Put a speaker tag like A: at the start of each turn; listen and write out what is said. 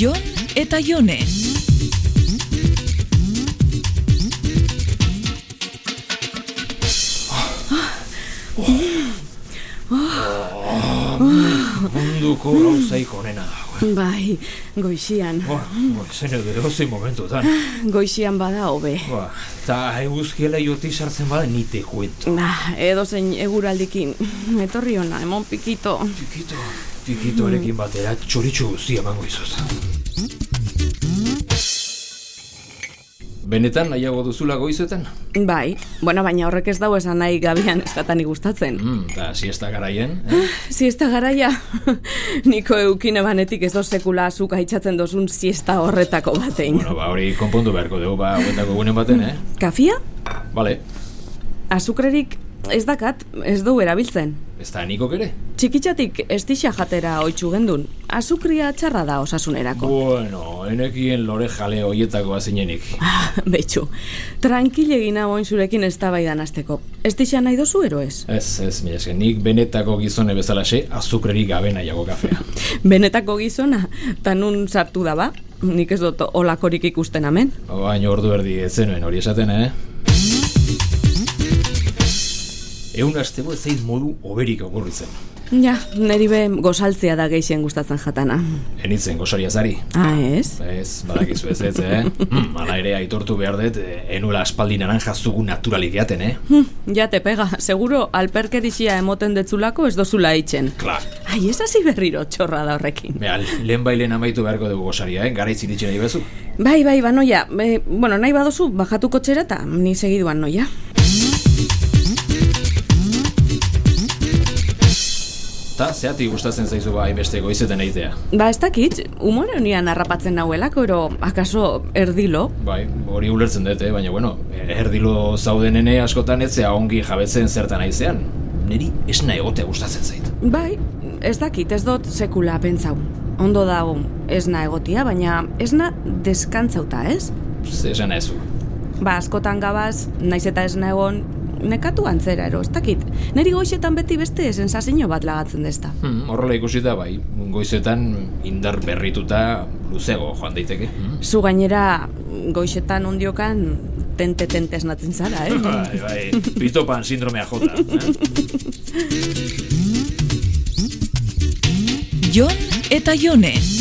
A: Jon eta Jone.
B: Munduko gauzaik onena dago.
C: Bai, goixian.
B: Ba, goizen edo edozein momentutan.
C: Goixian bada hobe.
B: Ba, eta eguzkiela joti sartzen bada nite kuento.
C: Ah, edozein eguraldikin. Etorri ona, emon pikito.
B: Tikito, tikitoarekin batera txoritxu guzti emango izuz. Benetan nahiago duzula goizetan?
C: Bai, bueno, baina horrek ez dau esan nahi gabian eskatani gustatzen.
B: Mm, eta siesta garaien, eh?
C: Siesta garaia, niko eukine banetik ez dosekula azuk haitzatzen dozun siesta horretako batein.
B: bueno, ba, hori konpondu beharko dugu, ba, hauetako gunen baten, eh?
C: Kafia?
B: Bale,
C: Azukrerik ez dakat, ez du erabiltzen.
B: ez da nikok ere?
C: Txikitzatik estixa jatera oitzu gendun. Azukria txarra da osasunerako.
B: Bueno, enekien lore jale hoietako azinenik.
C: Ah, Betxu, tranquil egin hauen zurekin ez tabaidan azteko. Estixa nahi dozu ero ez?
B: Ez, ez, mila esker, nik benetako gizone bezalaxe azukrerik gabe nahiago kafea.
C: Benetako gizona, ta nun sartu da ba? Nik ez dut olakorik ikusten amen.
B: Baina ordu erdi ez zenuen hori esaten, eh? Eun asteko ez zait modu oberik okurritzen.
C: Ja, neri be gozaltzea da geixen gustatzen jatana.
B: Enitzen gosaria zari.
C: Ah, ez?
B: Ez, badakizu ez ez, eh? Mm, ala ere aitortu behar dut, eh, enula aspaldi naranja zugu naturalik jaten, eh?
C: Hm, ja te pega, seguro alperkerixia emoten detzulako ez dozula itzen.
B: Klar.
C: Ai, ez hasi berriro txorra da horrekin.
B: Bea, lehen bailen amaitu beharko dugu gosaria, eh? Gara itziritxe nahi bezu.
C: Bai, bai, banoia, e, bueno, nahi baduzu bajatuko txera eta ni segiduan noia.
B: Ta, zeati gustatzen zaizu bai beste goizetan egitea.
C: Ba, ez dakit, umore honian harrapatzen nauelako, ero, akaso, erdilo,
B: Bai, hori ulertzen dut, eh? baina bueno, erdilo zaudenene askotan etzea ongi jabetzen zertan aizean. Neri esna egotea gustatzen zait.
C: Bai, ez dakit, ez dut sekula pentsau. Ondo dago, esna egotia, baina esna deskantzauta, ez?
B: Ze esan ezu.
C: Ba, askotan gabaz, naiz eta esna egon, nekatu antzera, ero, ez dakit. Neri goixetan beti beste sensazio bat lagatzen dezta.
B: Hmm, horrela ikusita, bai, goizetan indar berrituta luzego joan daiteke. Hmm?
C: Zu gainera, goixetan ondiokan, tente-tente esnatzen zara, eh?
B: Bai, bai, pitopan sindromea jota. Eh?
A: Jon eta Jone.